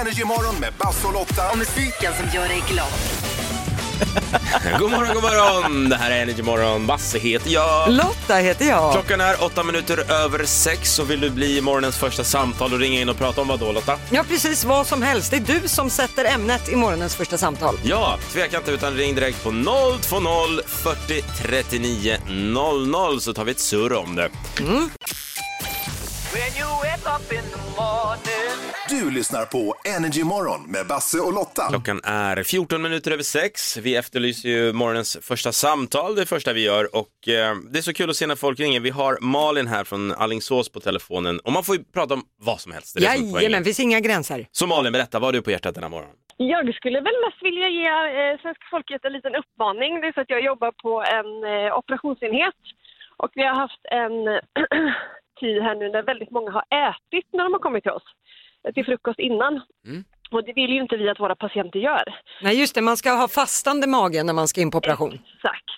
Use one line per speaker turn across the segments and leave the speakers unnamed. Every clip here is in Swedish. Energymorgon med Basse och Lotta.
Och musiken som gör dig glad.
God morgon, god morgon! Det här är Energy Morgon. Basse heter jag.
Lotta heter jag.
Klockan är åtta minuter över sex och vill du bli morgonens första samtal och ringa in och prata om vad då Lotta?
Ja, precis vad som helst. Det är du som sätter ämnet i morgonens första samtal.
Ja, tveka inte utan ring direkt på 020 40 39 00 så tar vi ett surr om det.
Du lyssnar på Energymorgon med Basse och Lotta.
Klockan är 14 minuter över sex. Vi efterlyser ju morgonens första samtal, det första vi gör. Och eh, det är så kul att se när folk ringer. Vi har Malin här från Allingsås på telefonen. Och man får ju prata om vad som helst. Det är det som är poängen.
Jajamän, finns inga gränser.
Så Malin, berätta, vad har du på hjärtat den här morgonen?
Jag skulle väl mest vilja ge eh, svenska folket en liten uppmaning. Det är så att jag jobbar på en eh, operationsenhet och vi har haft en tid här nu när väldigt många har ätit när de har kommit till oss, eh, till frukost innan. Och det vill ju inte vi att våra patienter gör.
Nej, just det, man ska ha fastande mage när man ska in på operation.
Exakt.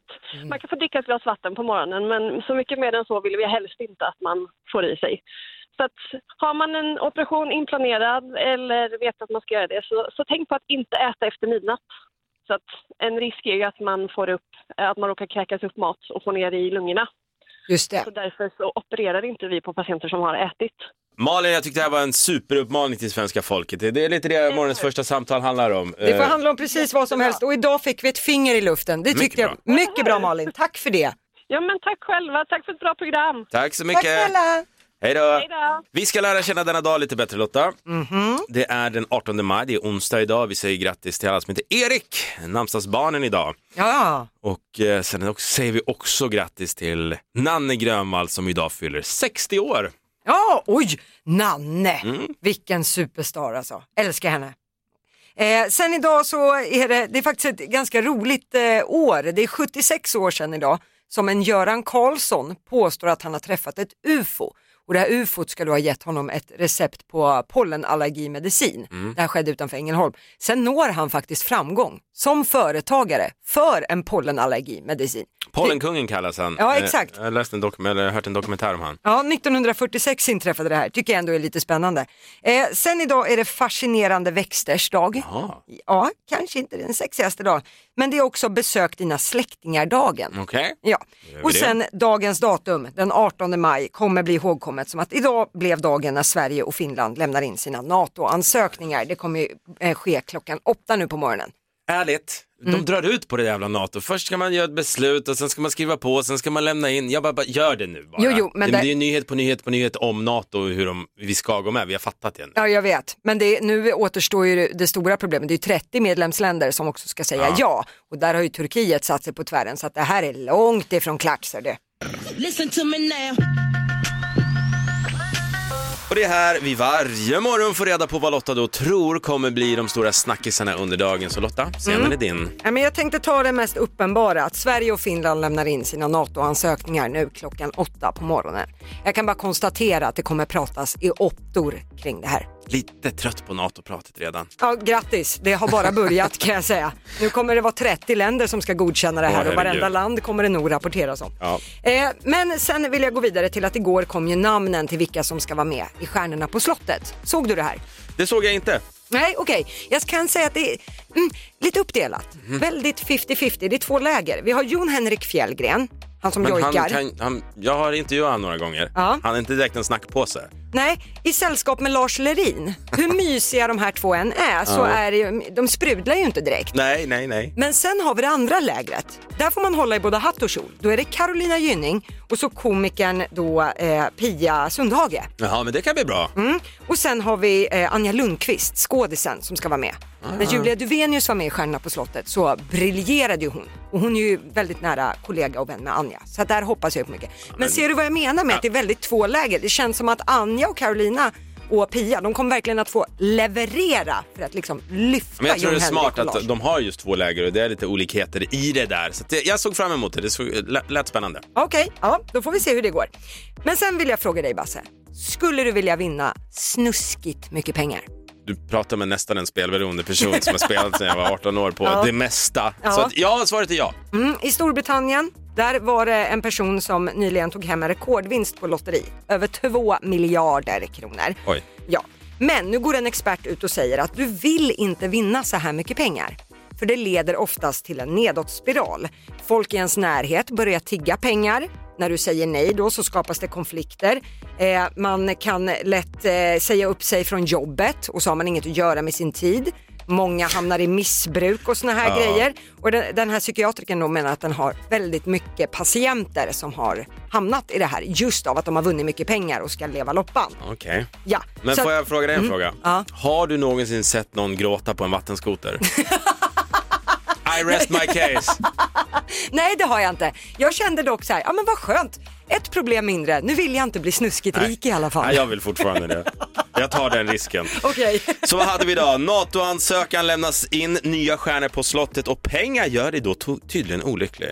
Man kan få dricka ett glas vatten på morgonen men så mycket mer än så vill vi helst inte att man får i sig. Så att har man en operation inplanerad eller vet att man ska göra det så, så tänk på att inte äta efter midnatt. Så att en risk är ju att man får upp, att man råkar kräkas upp mat och får ner i lungorna.
Just det.
Så därför så opererar inte vi på patienter som har ätit.
Malin, jag tyckte det här var en superuppmaning till svenska folket. Det det är lite det morgonens första samtal handlar om.
Det får
Eh,
handla om precis vad som helst och idag fick vi ett finger i luften. Det tyckte jag.
Mycket
Mycket bra Malin, tack för det.
Ja men tack själva, tack för ett bra program.
Tack eh. så
Tack
mycket.
snälla.
Hej då.
Hej då.
Vi ska lära känna denna dag lite bättre Lotta. Det är den 18 maj, det är onsdag idag. Vi säger grattis till alla som heter Erik, namnsdagsbarnen idag.
Ja,
Och eh, sen också, säger vi också grattis till Nanne Grönvall som idag fyller 60 år.
ja, oj, Nanne. Vilken superstar alltså. Älskar henne. Eh, sen idag så är det, det är faktiskt ett ganska roligt eh, år. Det är 76 år sedan idag som en Göran Karlsson påstår att han har träffat ett UFO. Och det här UFOt ska då ha gett honom ett recept på pollenallergimedicin. Det här skedde utanför Ängelholm. Sen når han faktiskt framgång som företagare för en pollenallergimedicin.
Pollenkungen kallas han.
Ja,
Eh,
exakt.
Jag har läst en dokum- eller hört en dokumentär om han.
Ja, 1946 inträffade det här, tycker jag ändå är lite spännande. Eh, sen idag är det fascinerande växters dag.
Jaha.
Ja, kanske inte den sexigaste dagen, men det är också besök dina släktingar-dagen.
Okej.
Ja,
Gör vi
och
Mm. det?
sen dagens datum, den 18 maj, kommer bli ihågkommet som att idag blev dagen när Sverige och Finland lämnar in sina NATO-ansökningar. Det kommer ju eh, ske klockan åtta nu på morgonen.
ärligt,
Mm.
de drar ut på det jävla NATO. Först ska man göra ett beslut och sen ska man skriva på, sen ska man lämna in. Jag bara, bara gör det nu bara.
Jo, jo, men
det,
det-
det är ju nyhet på nyhet på nyhet om NATO och hur de, vi ska gå med. Vi har fattat det nu.
Ja, jag vet. Men det, nu återstår ju det stora problemet. Det är ju 30 medlemsländer som också ska säga ja. Och där har ju Turkiet satt sig på tvären så att det här är långt ifrån klart. ser du.
Listen to me now.
Och det är här vi varje morgon får reda på vad Lotta då tror kommer bli de stora snackisarna under dagen. Så Lotta, scenen
Mm.
är din.
Ja, men jag tänkte ta det mest uppenbara, att Sverige och Finland lämnar in sina NATO-ansökningar nu klockan åtta på morgonen. Jag kan bara konstatera att det kommer pratas i åttor kring det här.
Lite trött på NATO-pratet redan.
Ja, grattis, det har bara börjat kan jag säga. Nu kommer det vara 30 länder som ska godkänna det här
Åh,
och varenda
herregud.
land kommer det nog rapporteras om.
Ja.
Eh, men sen vill jag gå vidare till att igår kom ju namnen till vilka som ska vara med i Stjärnorna på slottet. Såg du det här?
Det såg jag inte.
Nej, okej. Jag kan säga att det är mm, lite uppdelat.
Mhm.
Väldigt 50-50. Det är två läger. Vi har Jon Henrik Fjällgren, han som
Men han
jojkar.
kan, han, jag har intervjuat honom några gånger.
Ja.
Han är inte direkt en snackpåse.
Nej, i sällskap med Lars Lerin. Hur mysiga de här två än är så är det ju, de sprudlar ju inte direkt.
Nej, nej, nej.
Men sen har vi det andra lägret. Där får man hålla i både hatt och kjol. Då är det Carolina Gynning och så komikern då eh, Pia Sundhage.
Jaha, men det kan bli bra.
Mm. Och sen har vi eh, Anja Lundqvist, skådisen, som ska vara med.
Ah.
När Julia Duvenius var med i Stjärnorna på slottet så briljerade ju hon. Och hon är ju väldigt nära kollega och vän med Anja. Så att där hoppas jag på mycket. Men ser du vad jag menar med att det är väldigt två läger? Det känns som att Anja och Carolina och Pia, de kommer verkligen att få leverera för att liksom lyfta
Men jag tror det
Jon
är
Henrik
smart
och Lars.
att de har just två läger och det är lite olikheter i det där. Så att det, jag såg fram emot det, det såg, lät- lät spännande.
Okej, ja, då får vi se hur det går. Men sen vill jag fråga dig Basse, skulle du vilja vinna snuskigt mycket pengar?
Du pratar med nästan en spelberoende person som har spelat sedan jag var 18 år på det mesta. Så
Ja.
att, ja, svaret är ja.
Mm, I Storbritannien, där var det en person som nyligen tog hem en rekordvinst på lotteri, över 2 miljarder kronor.
Oj.
Ja. Men nu går en expert ut och säger att du vill inte vinna så här mycket pengar. För det leder oftast till en nedåtspiral. Folk i ens närhet börjar tigga pengar. När du säger nej då så skapas det konflikter. Eh, man kan lätt eh, säga upp sig från jobbet och så har man inget att göra med sin tid. Många hamnar i missbruk och såna här grejer. Och den, den här psykiatrikern då menar att den har väldigt mycket patienter som har hamnat i det här just av att de har vunnit mycket pengar och ska leva loppan.
Okej.
Ja.
Men
så
får
att- Mm.
jag fråga dig en fråga?
ja.
Har du någonsin sett någon gråta på en vattenskoter? I rest my case.
Nej det har jag inte. Jag kände dock så här, ja men vad skönt, ett problem mindre, nu vill jag inte bli snuskigt rik i alla fall.
Nej, jag vill fortfarande det. Jag tar den risken.
Okej.
Så vad hade vi då? NATO-ansökan lämnas in, nya stjärnor på slottet och pengar gör dig då to- tydligen olycklig.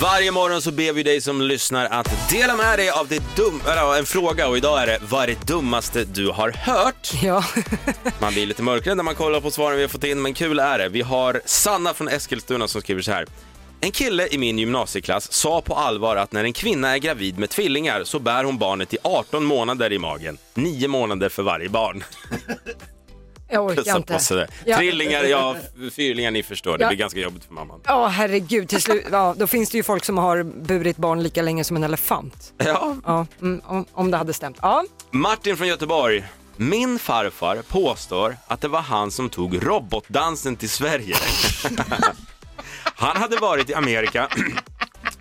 Varje morgon så ber vi dig som lyssnar att dela med dig av ditt dum- eller, en fråga och idag är det vad är det dummaste du har hört?
Ja.
Man blir lite mörkrädd när man kollar på svaren vi har fått in, men kul är det. Vi har Sanna från Eskilstuna som skriver så här. En kille i min gymnasieklass sa på allvar att när en kvinna är gravid med tvillingar så bär hon barnet i 18 månader i magen. 9 månader för varje barn.
Jag orkar
Pussa på
inte.
sig där.
Ja.
Trillingar, ja, f- fyrlingar, ni förstår. Det
Ja.
blir ganska jobbigt för mamman.
Ja herregud, till slut, ja, då finns det ju folk som har burit barn lika länge som en elefant.
Ja,
Ja, mm, om, om det hade stämt. Ja.
Martin från Göteborg. Min farfar påstår att det var han som tog robotdansen till Sverige. han hade varit i Amerika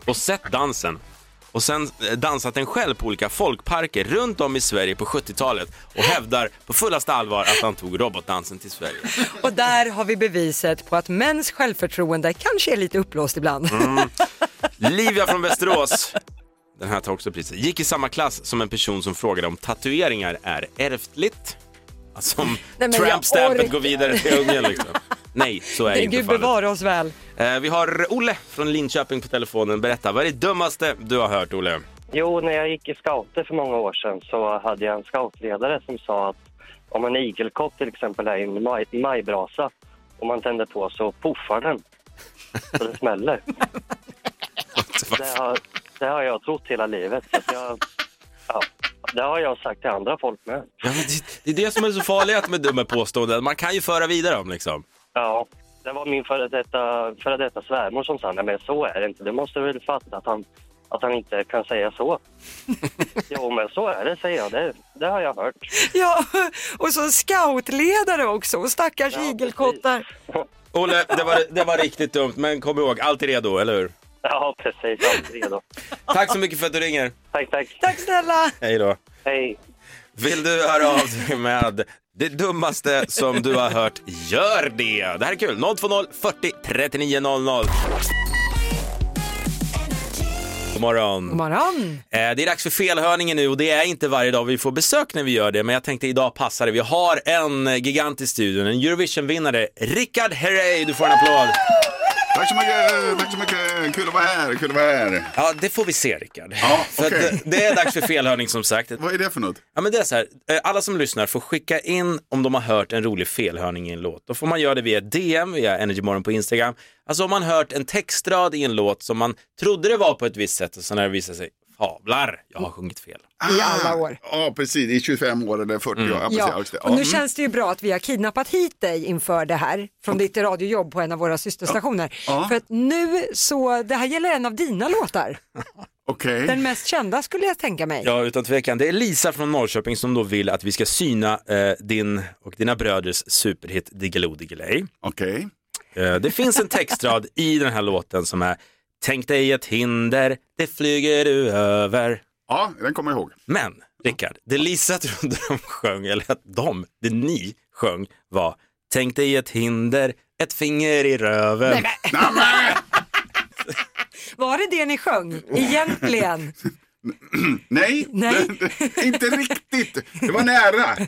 och sett dansen och sen eh, dansat den själv på olika folkparker runt om i Sverige på 70-talet och hävdar på fullaste allvar att han tog robotdansen till Sverige.
Och där har vi beviset på att mäns självförtroende kanske är lite uppblåst ibland.
Mm, Livia från Västerås, den här tar också priset, gick i samma klass som en person som frågade om tatueringar är ärftligt. Alltså om
men jag
trampstampet
orkar.
går vidare till ungen liksom. Nej, så är inte
Gud
fallet.
bevara oss väl.
Eh, Vi har Olle från Linköping på telefonen. Berätta, vad är det dummaste du har hört, Olle?
Jo, när jag gick i scouter för många år sedan så hade jag en scoutledare som sa att om en igelkott till exempel är i en maj, majbrasa och man tänder på så puffar den så det smäller. Det har, det har jag trott hela livet. Så att jag, ja, det har jag sagt till andra folk med.
Ja, men det, det är det som är så farligt med dumma påståenden. Man kan ju föra vidare dem liksom.
Ja, det var min före detta, före detta svärmor som sa nej men så är det inte. Du måste väl fatta att han, att han inte kan säga så. jo, men så är det, säger jag. Det, det har jag hört.
Ja, och så scoutledare också och stackars
Ja, precis.
igelkottar.
Olle, det var, det var riktigt dumt, men kom ihåg, allt är redo, eller hur?
Ja, precis. Allt redo.
Tack så mycket för att du ringer.
Tack, tack.
Tack snälla.
Hej då.
Hej.
Vill du höra av dig med det dummaste som du har hört, gör det! Det här är kul. 020 40 39 00. God
God
morgon.
morgon.
Eh, Det är dags för felhörningen nu och det är inte varje dag vi får besök när vi gör det, men jag tänkte idag passar det. Vi har en gigant i studion, en Eurovision-vinnare, Rickard Herrey. Du får en applåd.
Tack så mycket, tack så mycket. Kul att vara här, kul att vara här.
Ja, det får vi se Rickard.
Ja,
För att
okej.
det- Det är dags för felhörning som sagt.
Vad är det för något?
Ja, men det är så här. Eh, Alla som lyssnar får skicka in om de har hört en rolig felhörning i en låt. Då får man göra det via DM, via Energymorgon på Instagram. Alltså om man hört en textrad i en låt som man trodde det var på ett visst sätt och sen när det visar sig, fablar, jag har sjungit fel.
I alla år.
Ja, precis. I 25 år eller 40 år. Ja, precis. Ja.
Ja,
just det.
och nu
Mm.
känns det ju bra att vi har kidnappat hit dig inför det här från ditt radiojobb på en av våra systerstationer.
Ja. Mm.
För att nu så, det här gäller en av dina låtar.
Okej.
Den mest kända skulle jag tänka mig.
Ja, utan tvekan. Det är Lisa från Norrköping som då vill att vi ska syna eh, din och dina bröders superhit Diggiloo Diggiley.
Okej.
Eh, det finns en textrad i den här låten som är Tänk dig ett hinder, det flyger du över.
Ja, den kommer jag ihåg.
Men, Rickard, det Lisa trodde de sjöng, eller att de, det ni sjöng var Tänk dig ett hinder, ett finger i röven.
Nej,
Var det det ni sjöng egentligen?
nej,
Nej.
inte riktigt. Det var nära.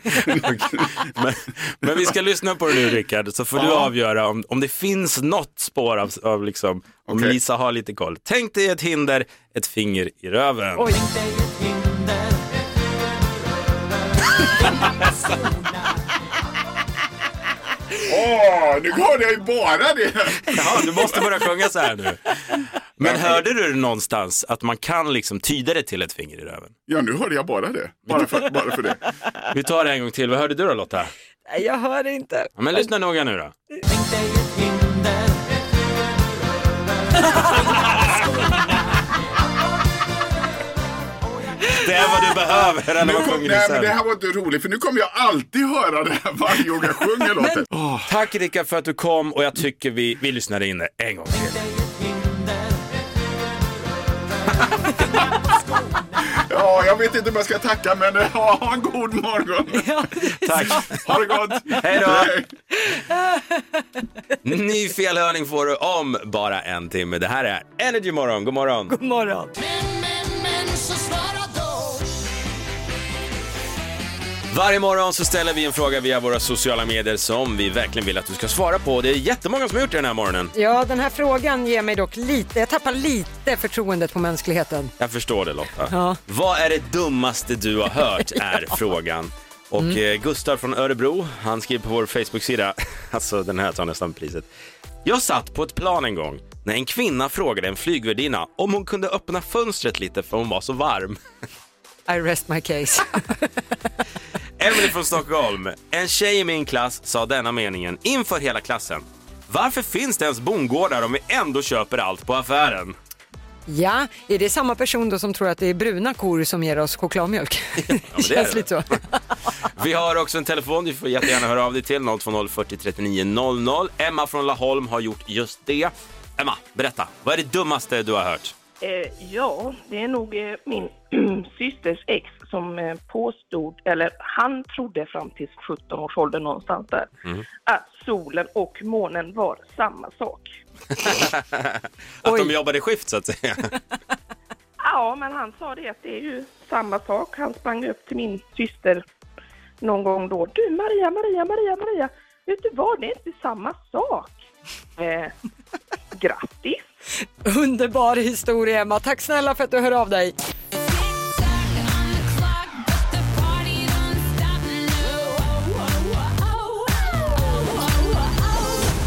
Men, men vi ska lyssna på det nu Rickard, så får du
Ja.
avgöra om, om det finns något spår av, av liksom, om
Okej.
Lisa har lite koll. Tänk dig ett hinder, ett finger i röven.
Oj.
Åh, nu hörde jag ju bara det.
Ja, du måste börja sjunga så här nu. Men hörde du någonstans att man kan liksom tyda det till ett finger i röven?
Ja, nu hörde jag bara det. Bara för, bara för det.
Vi tar det en gång till. Vad hörde du då Lotta?
Nej, jag hör inte.
Ja, Men lyssna noga nu då. Det är vad du behöver eller vad sjunger du
nej, men det
sen?
här var inte roligt för nu kommer jag alltid höra det här varje gång jag sjunger låten. Åh,
Tack Rickard för att du kom och jag tycker vi, vi lyssnar in det en gång till.
ja, jag vet inte om jag ska tacka men eh, ja, ha en god morgon.
Tack.
Ha det gott.
Hej då. Ny felhörning får du om bara en timme. Det här är Energy Morgon. God morgon.
God morgon.
Varje morgon så ställer vi en fråga via våra sociala medier som vi verkligen vill att du ska svara på. Det är jättemånga som har gjort det den här morgonen.
Ja, den här frågan ger mig dock lite, jag tappar lite förtroendet på mänskligheten.
Jag förstår det Lotta.
Ja.
Vad är det dummaste du har hört är frågan. Och eh, Gustav från Örebro, han skriver på vår Facebook-sida, alltså den här tar nästan priset. Jag satt på ett plan en gång när en kvinna frågade en flygvärdinna om hon kunde öppna fönstret lite för hon var så varm.
I rest my case.
Emily från Stockholm. En tjej i min klass sa denna meningen inför hela klassen. Varför finns det ens bondgårdar om vi ändå köper allt på affären?
ja, är det samma person då som tror att det är bruna kor som ger oss chokladmjölk?
det är
Känns
det.
lite så.
Vi har också en telefon, du får jättegärna höra av dig till 020 40 39 00. Emma från Laholm har gjort just det. Emma, berätta. Vad är det dummaste du har hört?
Eh, ja, det är nog eh, min systers ex som eh, påstod, eller han trodde fram till 17 års ålder någonstans där, att solen och månen var samma sak.
Att de
Oj.
jobbade i skift så att säga.
Ja, men han sa det att det är ju samma sak. Han sprang upp till min syster någon gång då. Du Maria, Maria, Maria, Maria, vet du vad, det är inte samma sak. Eh, grattis!
Underbar historia Emma, tack snälla för att du hör av dig.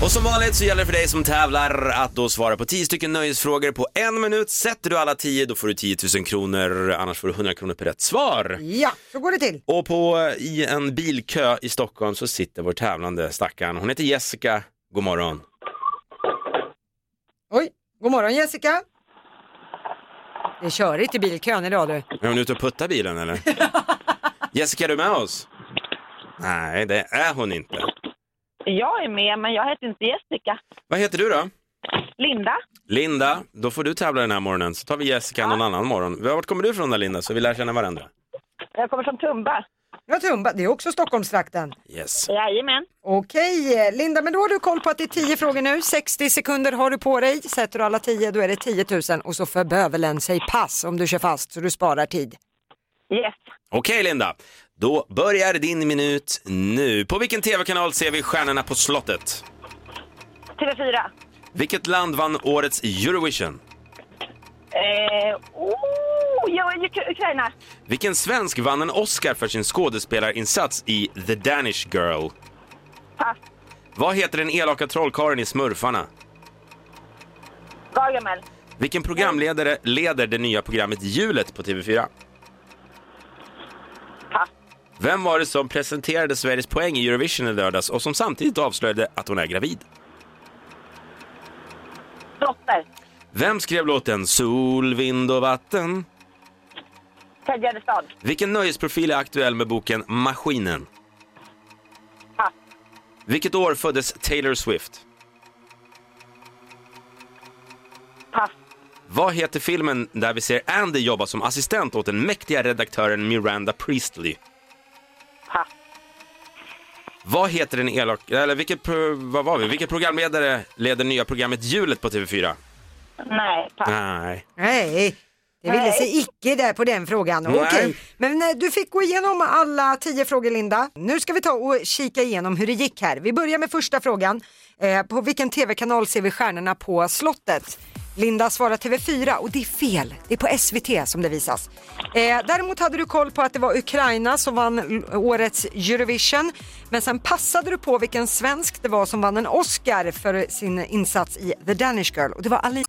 Och som vanligt så gäller det för dig som tävlar att då svara på 10 stycken nöjesfrågor på en minut. Sätter du alla 10 då får du 10 000 kronor, annars får du 100 kronor per rätt svar.
Ja, så går det till.
Och på, i en bilkö i Stockholm så sitter vår tävlande stackaren. Hon heter Jessica. God morgon.
Oj, god morgon Jessica. Det är körigt i bilkön idag du.
Är hon ute och puttar bilen eller? Jessica, är du med oss? Nej, det är hon inte.
Jag är med, men jag heter inte Jessica.
Vad heter du då?
Linda?
Linda, då får du tävla den här morgonen så tar vi Jessica någon annan morgon. Vart kommer du ifrån då Linda så vi lär känna varandra?
Jag kommer från Tumba.
Ja, Tumba, det är också Stockholmstrakten.
Yes.
Jajamän.
Okej, eh, Linda, men då har du koll på att det är 10 frågor nu. 60 sekunder har du på dig. Sätter du alla 10 då är det 10 000 och så för bövelen sig pass om du kör fast så du sparar tid.
Yes.
Okej Linda, då börjar din minut nu. På vilken tv-kanal ser vi Stjärnorna på slottet?
TV4.
Vilket land vann årets Eurovision?
Eh, oh, jag är ju Ukraina.
Vilken svensk vann en Oscar för sin skådespelarinsats i The Danish Girl?
Pass.
Vad heter den elaka trollkarlen i Smurfarna?
Gargamel.
Vilken programledare leder det nya programmet Hjulet på TV4?
Pass.
Vem var det som presenterade Sveriges poäng i Eurovision i lördags och som samtidigt avslöjade att hon är gravid?
Dotter.
Vem skrev låten Sol, vind och vatten?
Ted Gärdestad.
Vilken nöjesprofil är aktuell med boken Maskinen?
Pass.
Vilket år föddes Taylor Swift?
Pass.
Vad heter filmen där vi ser Andy jobba som assistent åt den mäktiga redaktören Miranda Priestley?
Pass.
Vad heter den elak... Eller vilket, pro... vad var vi? Vilket programledare leder nya programmet Hjulet på TV4?
Nej, pass.
Nej.
Nej, det ville
Nej.
sig icke där på den frågan.
Nej.
Okej, men eh, du fick gå igenom alla 10 frågor Linda. Nu ska vi ta och kika igenom hur det gick här. Vi börjar med första frågan. Eh, på vilken tv-kanal ser vi Stjärnorna på slottet? Linda svarar TV4 och det är fel. Det är på SVT som det visas. Eh, däremot hade du koll på att det var Ukraina som vann l- årets Eurovision. Men sen passade du på vilken svensk det var som vann en Oscar för sin insats i The Danish Girl och det var Ali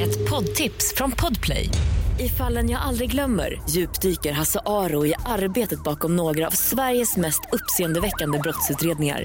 Ett poddtips från Podplay. I fallen jag aldrig glömmer djupdyker Hasse Aro i arbetet bakom några av Sveriges mest uppseendeväckande brottsutredningar.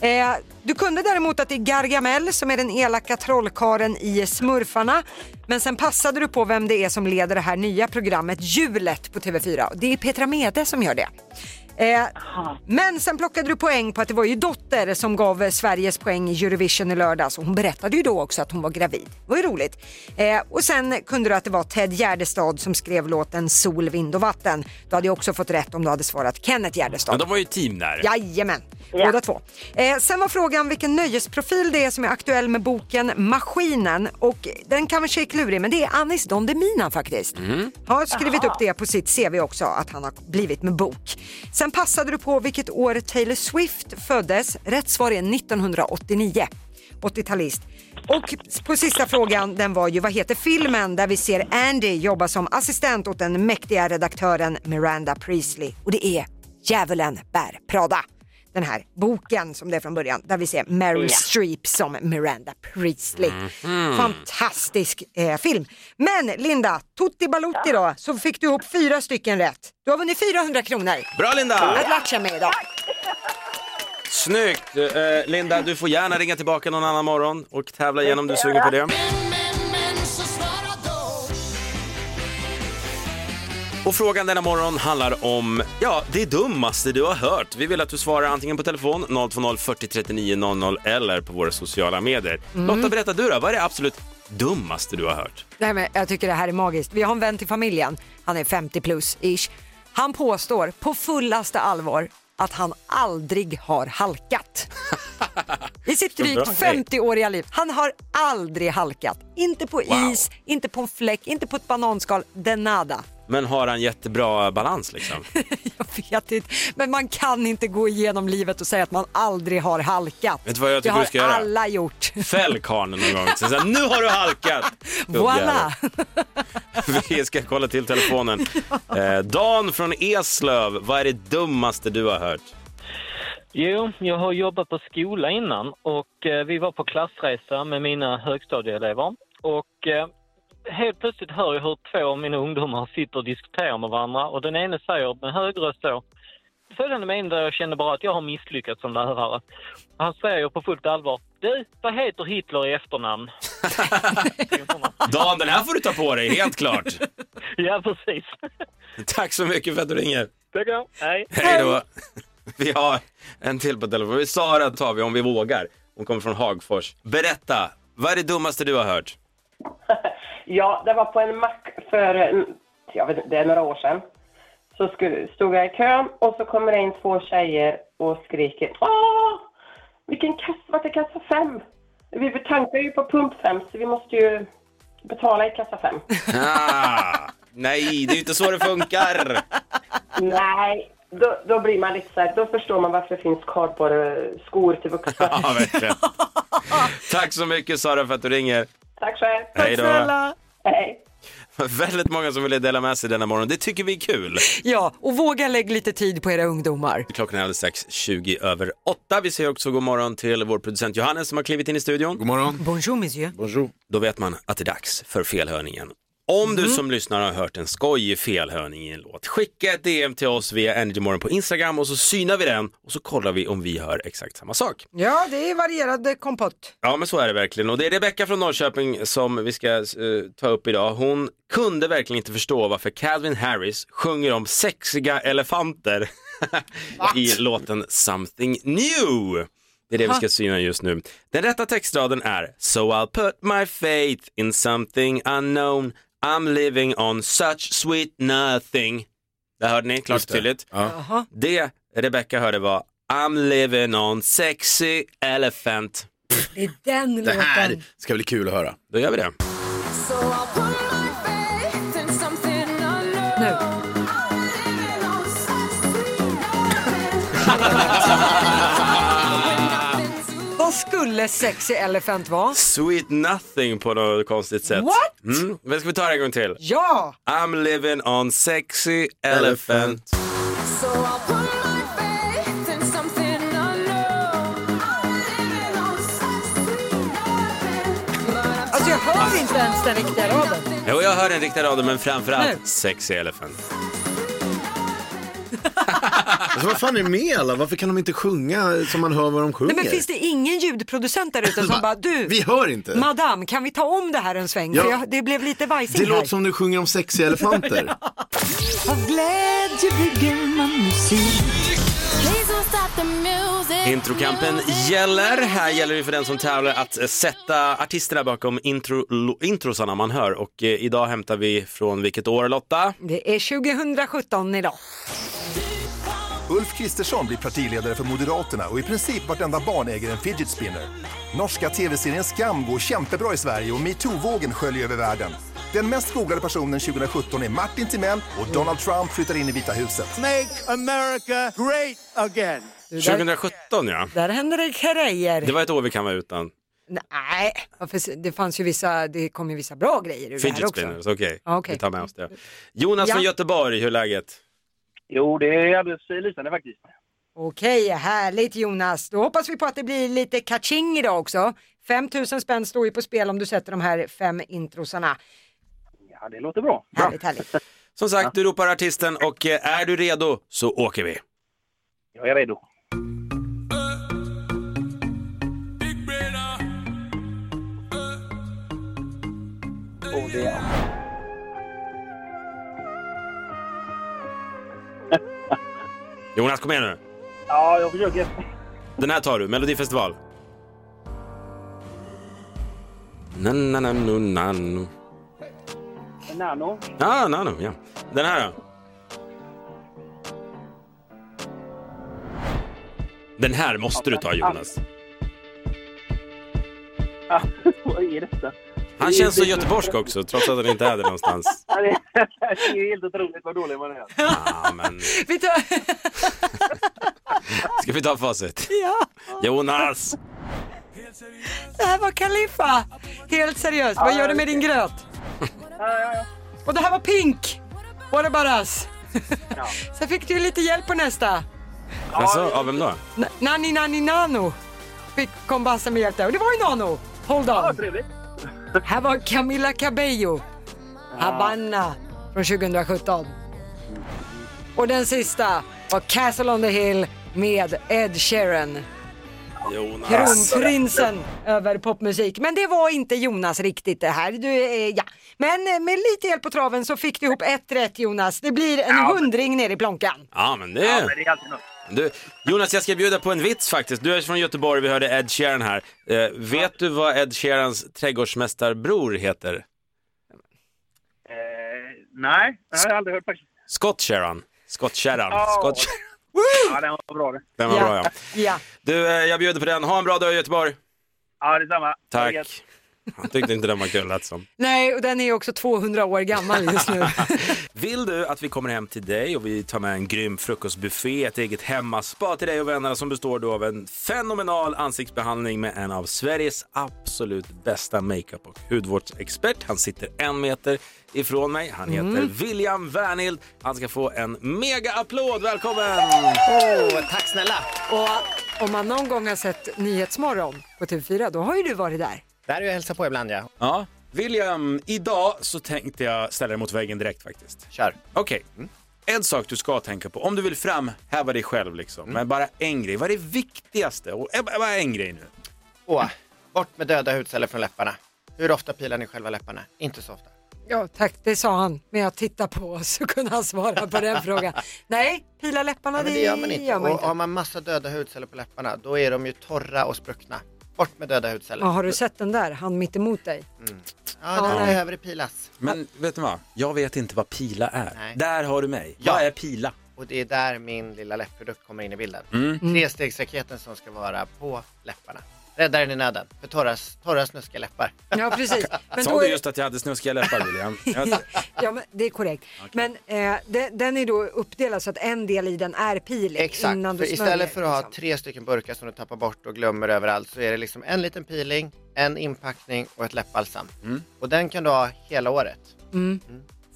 Eh, du kunde däremot att det är Gargamel som är den elaka trollkaren i Smurfarna. Men sen passade du på vem det är som leder det här nya programmet Hjulet på TV4. Det är Petra Mede som gör det. Eh, men sen plockade du poäng på att det var ju Dotter som gav eh, Sveriges poäng i Eurovision i lördags och hon berättade ju då också att hon var gravid. Det var ju roligt. Eh, och sen kunde du att det var Ted Gärdestad som skrev låten Sol, vind och vatten. Du hade ju också fått rätt om du hade svarat Kenneth Gärdestad.
Men de var ju team där.
Jajamän, båda två. Eh, sen var frågan vilken nöjesprofil det är som är aktuell med boken Maskinen och den kanske är klurig men det är Anis Don Demina faktiskt. Har skrivit upp det på sitt CV också att han har blivit med bok. Sen passade du på vilket år Taylor Swift föddes. Rätt svar är 1989. 80-talist. Och på sista frågan, den var ju vad heter filmen där vi ser Andy jobba som assistent åt den mäktiga redaktören Miranda Priestley och det är Djävulen bär Prada. Den här boken som det är från början där vi ser Meryl Streep som Miranda Priestley.
Mhm.
Fantastisk eh, film. Men Linda, Tutti Balutti då, så fick du ihop fyra stycken rätt. Du har vunnit 400 kronor.
Bra, Linda!
Att latcha med idag.
Snyggt! Eh, Linda, du får gärna ringa tillbaka någon annan morgon och tävla igen om du är sugen på det. Och frågan denna morgon handlar om, ja, det dummaste du har hört. Vi vill att du svarar antingen på telefon 020 40 39 00 eller på våra sociala medier.
Mm.
Lotta, berätta du då, vad är det absolut dummaste du har hört?
Nej, men jag tycker det här är magiskt. Vi har en vän till familjen, han är 50 plus ish. Han påstår på fullaste allvar att han aldrig har halkat. I sitt
Så bra.
drygt 50-åriga liv. Han har aldrig halkat. Inte på
Wow.
is, inte på en fläck, inte på ett bananskal. De nada.
Men har han jättebra balans liksom?
Vet inte. Men man kan inte gå igenom livet och säga att man aldrig har halkat.
Vet du vad jag tycker
det har
du ska göra?
alla gjort.
Fäll karln någon gång. Så här, nu har du halkat! Oh,
Voilà!
Vi ska kolla till telefonen. Eh, Dan från Eslöv, vad är det dummaste du har hört?
Jo, jag har jobbat på skola innan och eh, vi var på klassresa med mina högstadieelever. Och eh, helt plötsligt hör jag hur två av mina ungdomar sitter och diskuterar med varandra och den ene säger med hög röst då följande mening där jag känner bara att jag har misslyckats som lärare. Han säger på fullt allvar, du, vad heter Hitler i efternamn?
Dan, den här får du ta på dig, helt klart.
ja, precis.
Tack så mycket för att du ringer.
Tackar. Hej.
Hej då. Vi har en till på telefon. Sara tar vi om vi vågar. Hon kommer från Hagfors. Berätta, vad är det dummaste du har hört?
Ja, det var på en mack för, en- jag vet inte, det är några år sedan. Så skulle, stod jag i kön och så kommer det in två tjejer och skriker Åh! Vilken kassa, vart är kassa fem? Vi tankar ju på pump fem så vi måste ju betala i kassa fem.
Ah, nej, det är ju inte så det funkar.
Nej, då, då blir man lite så här, då förstår man varför det finns kardborreskor till vuxna.
Ja, verkligen. Tack så mycket Sara för att du ringer.
Tack själv!
Hej då. snälla.
Hej!
Väldigt många som ville dela med sig denna morgon. Det tycker vi är kul.
Ja, och våga lägga lite tid på era ungdomar.
Klockan är alldeles strax 20 över 8. Vi säger också god morgon till vår producent Johannes som har klivit in i studion. God morgon.
Bonjour monsieur.
Bonjour. Då vet man att det är dags för felhörningen. Om du som lyssnare har hört en skojig felhörning i en låt, skicka ett DM till oss via Energymorgon på Instagram och så synar vi den och så kollar vi om vi hör exakt samma sak.
Ja, det är varierad kompott.
Ja men så är det verkligen och det är Rebecka från Norrköping som vi ska eh, ta upp idag. Hon kunde verkligen inte förstå varför Calvin Harris sjunger om sexiga elefanter i låten Something New. Det är det vi ska
Aha.
syna just nu. Den rätta textraden är So I'll put my faith in something unknown I'm living on such sweet nothing. Där hörde ni klart och
Just det.
tydligt.
Jaha.
Det Rebecca hörde var I'm living on sexy elephant.
Det är den
Det här
låten.
ska bli kul att höra.
Då gör vi det.
Nu. skulle Sexy Elephant vara?
Sweet nothing på något konstigt sätt.
What?
Mm. Men ska vi ta det en gång till?
Ja!
I'm living on sexy elephant.
Alltså jag hör inte ens den riktiga raden.
Jo, jag hör den riktiga raden, men framförallt sexy elephant.
Alltså, vad fan är det med alla? Varför kan de inte sjunga så man hör vad de sjunger?
Nej, men finns det ingen ljudproducent där ute som bara du,
Vi hör inte.
madame kan vi ta om det här en sväng?
Ja.
För jag, det blev lite
det
vajsing här.
låter som du sjunger om sexiga elefanter.
Av glädje bygger man musik.
Introkampen gäller. Här gäller det för den som tävlar att eh, sätta artisterna bakom intro, lo- introsarna man hör. Och eh, idag hämtar vi från vilket år Lotta?
Det är 2017 idag.
Ulf Kristersson blir partiledare för Moderaterna och i princip vartenda barn äger en fidget spinner. Norska tv-serien Skam går kämpebra i Sverige och metoo-vågen sköljer över världen. Den mest googlade personen 2017 är Martin Timell och Donald Trump flyttar in i Vita huset.
Make America great again.
2017 ja.
Där händer det grejer.
Det var ett år vi kan vara utan.
Nej, varför- det fanns ju vissa, det kom ju vissa bra grejer ur det här
Fidget
också.
spinners, okej.
Ja, okej.
Vi tar med oss det. Jonas
Ja.
från Göteborg, hur är läget?
Jo, det är alldeles lysande faktiskt.
Okej, härligt Jonas. Då hoppas vi på att det blir lite catching idag också. 5000 spänn står ju på spel om du sätter de här fem introsarna.
Ja, det låter bra.
Härligt, härligt.
Som sagt, du ropar artisten och eh, är du redo så åker vi.
Jag är redo. Och det är...
Jonas, kom igen nu.
Ja, jag försöker.
Den här tar du, Melodifestival. Na, na, na, nu, na, nu.
Nano.
Ah, na, nu, ja. Den här då? Den här måste du ta Jonas.
Ah, vad är detta?
Han känns så göteborgsk också trots att han inte är det någonstans.
Ja, Det det är helt otroligt vad dålig man är.
Vi tar...
Ska vi ta facit?
Ja,
Jonas!
det här var Kaliffa. Helt seriöst, vad gör du med din gröt? Och det här var Pink. What about us? Sen fick du ju lite hjälp på nästa.
Alltså, av vem då?
N- Nanni Nanni Nano fick kom Basse med hjälp där och det var ju Nano. Hold on. Här var Camila Cabello. Havanna från 2017. Och den sista var Castle on the Hill med Ed Sheeran.
Jonas.
Kronprinsen över popmusik. Men det var inte Jonas riktigt det här. Du, eh, ja. Men eh, med lite hjälp på traven så fick du ihop ett rätt Jonas. Det blir en hundring ner i plånkan.
Ja, men det...
Ja,
Det är alltid något.
Du, Jonas, jag ska bjuda på en vits faktiskt. Du är från Göteborg, vi hörde Ed Sheeran här. Eh, vet du vad Ed Sheerans trädgårdsmästarbror heter?
Eh, nej, det har jag aldrig hört faktiskt.
Scott Sheeran. Scott Sheeran.
Ja.
Scott Sheeran.
Ja, den var bra det.
Den var bra ja.
Ja.
Du, eh, jag bjuder på den. Ha en bra dag i Göteborg.
Ja, detsamma.
Tack. Han tyckte inte den var kul lät som.
Nej, och den är också 200 år gammal just nu.
Vill du att vi kommer hem till dig och vi tar med en grym frukostbuffé, ett eget hemmaspa till dig och vännerna som består då av en fenomenal ansiktsbehandling med en av Sveriges absolut bästa makeup och hudvårdsexpert. Han sitter en meter ifrån mig. Han heter
Mm.
William Wernhild. Han ska få en mega applåd. Välkommen!
Åh, tack snälla. Och om man någon gång har sett Nyhetsmorgon på TV4, då har ju du varit där.
Där är jag hälsa på ibland ja.
Ja, William, idag så tänkte jag ställa dig mot väggen direkt faktiskt.
Kör.
Okej, Mm. en sak du ska tänka på om du vill framhäva dig själv liksom, men bara en grej. Vad är det viktigaste? Och, eh, bara en grej nu.
Åh, bort med döda hudceller från läpparna. Hur ofta pilar ni själva läpparna? Inte så ofta.
Ja, tack, det sa han. Men jag tittar på oss så kunde han svara på den frågan. Nej, pila läpparna,
Ja, men det gör man inte.
Gör man
och
inte.
har man massa döda hudceller på läpparna, då är de ju torra och spruckna. Bort med döda hudceller.
Ja, har du sett den där, han mitt emot dig?
Ja, den
Ja.
behöver pilas.
Men vet du vad? Jag vet inte vad pila är.
Nej.
Där har du mig.
Ja.
Vad är pila?
Och det är där min lilla läppprodukt kommer in i bilden.
Mm.
Trestegsraketen som ska vara på läpparna. Räddaren i nöden för torra, torra snuskiga läppar.
Ja, precis. Men
Sa
då
du
är-
just att jag hade snuskiga läppar William? Jag...
ja, men det är korrekt. Men eh, de, den är då uppdelad så att en del i den är pilig
Exakt,
innan du
för
smörjer. liksom.
istället för att ha tre stycken burkar som du tappar bort och glömmer överallt så är det liksom en liten peeling, en inpackning och ett läppbalsam. Och den kan du ha hela året.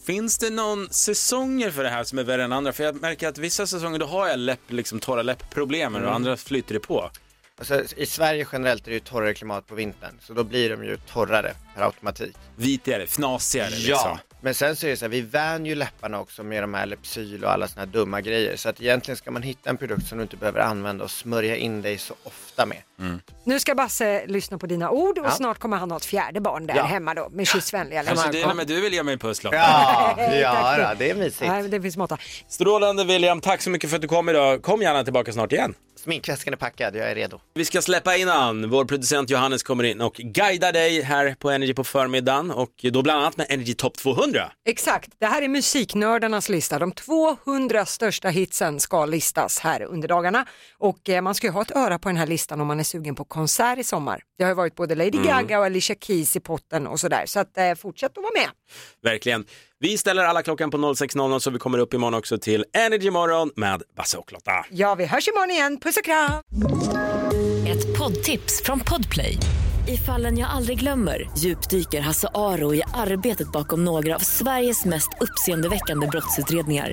Finns det någon säsonger för det här som är värre än andra? För jag märker att vissa säsonger då har jag läpp, liksom, torra läppproblem och
Mm.
andra flyter det på.
Alltså, I Sverige generellt är det ju torrare klimat på vintern, så då blir de ju torrare per automatik.
Vitigare, fnasigare liksom.
Ja, men sen så är det så här, vi vänjer ju läpparna också med de här Lypsyl och alla såna här dumma grejer. Så att egentligen ska man hitta en produkt som du inte behöver använda och smörja in dig så ofta med.
Nu ska Basse lyssna på dina ord och
Ja.
snart kommer han ha ett fjärde barn där
Ja.
hemma då med kyssvänliga
Kanske det är
läppar.
med du vill ge mig en puss Lotta.
Ja,
ja, då,
det är mysigt.
Nej, det finns måtta.
Strålande William, tack så mycket för att du kom idag. Kom gärna tillbaka snart igen.
Sminkväskan är packad, jag är redo.
Vi ska släppa in han. Vår producent Johannes kommer in och guidar dig här på Energy på förmiddagen och då bland annat med Energy Top 200.
Exakt, det här är musiknördarnas lista. De 200 största hitsen ska listas här under dagarna och eh, man ska ju ha ett öra på den här listan om man är sugen på konsert i sommar. Det har ju varit både Lady
Mm.
Gaga och Alicia Keys i potten och sådär så att eh, fortsätt att vara med.
Verkligen. Vi ställer alla klockan på 06.00 så vi kommer upp imorgon också till Energy Morgon med Basse och Lotta.
Ja, vi hörs imorgon igen. Puss och kram!
Ett poddtips från Podplay. I fallen jag aldrig glömmer djupdyker Hasse Aro i arbetet bakom några av Sveriges mest uppseendeväckande brottsutredningar.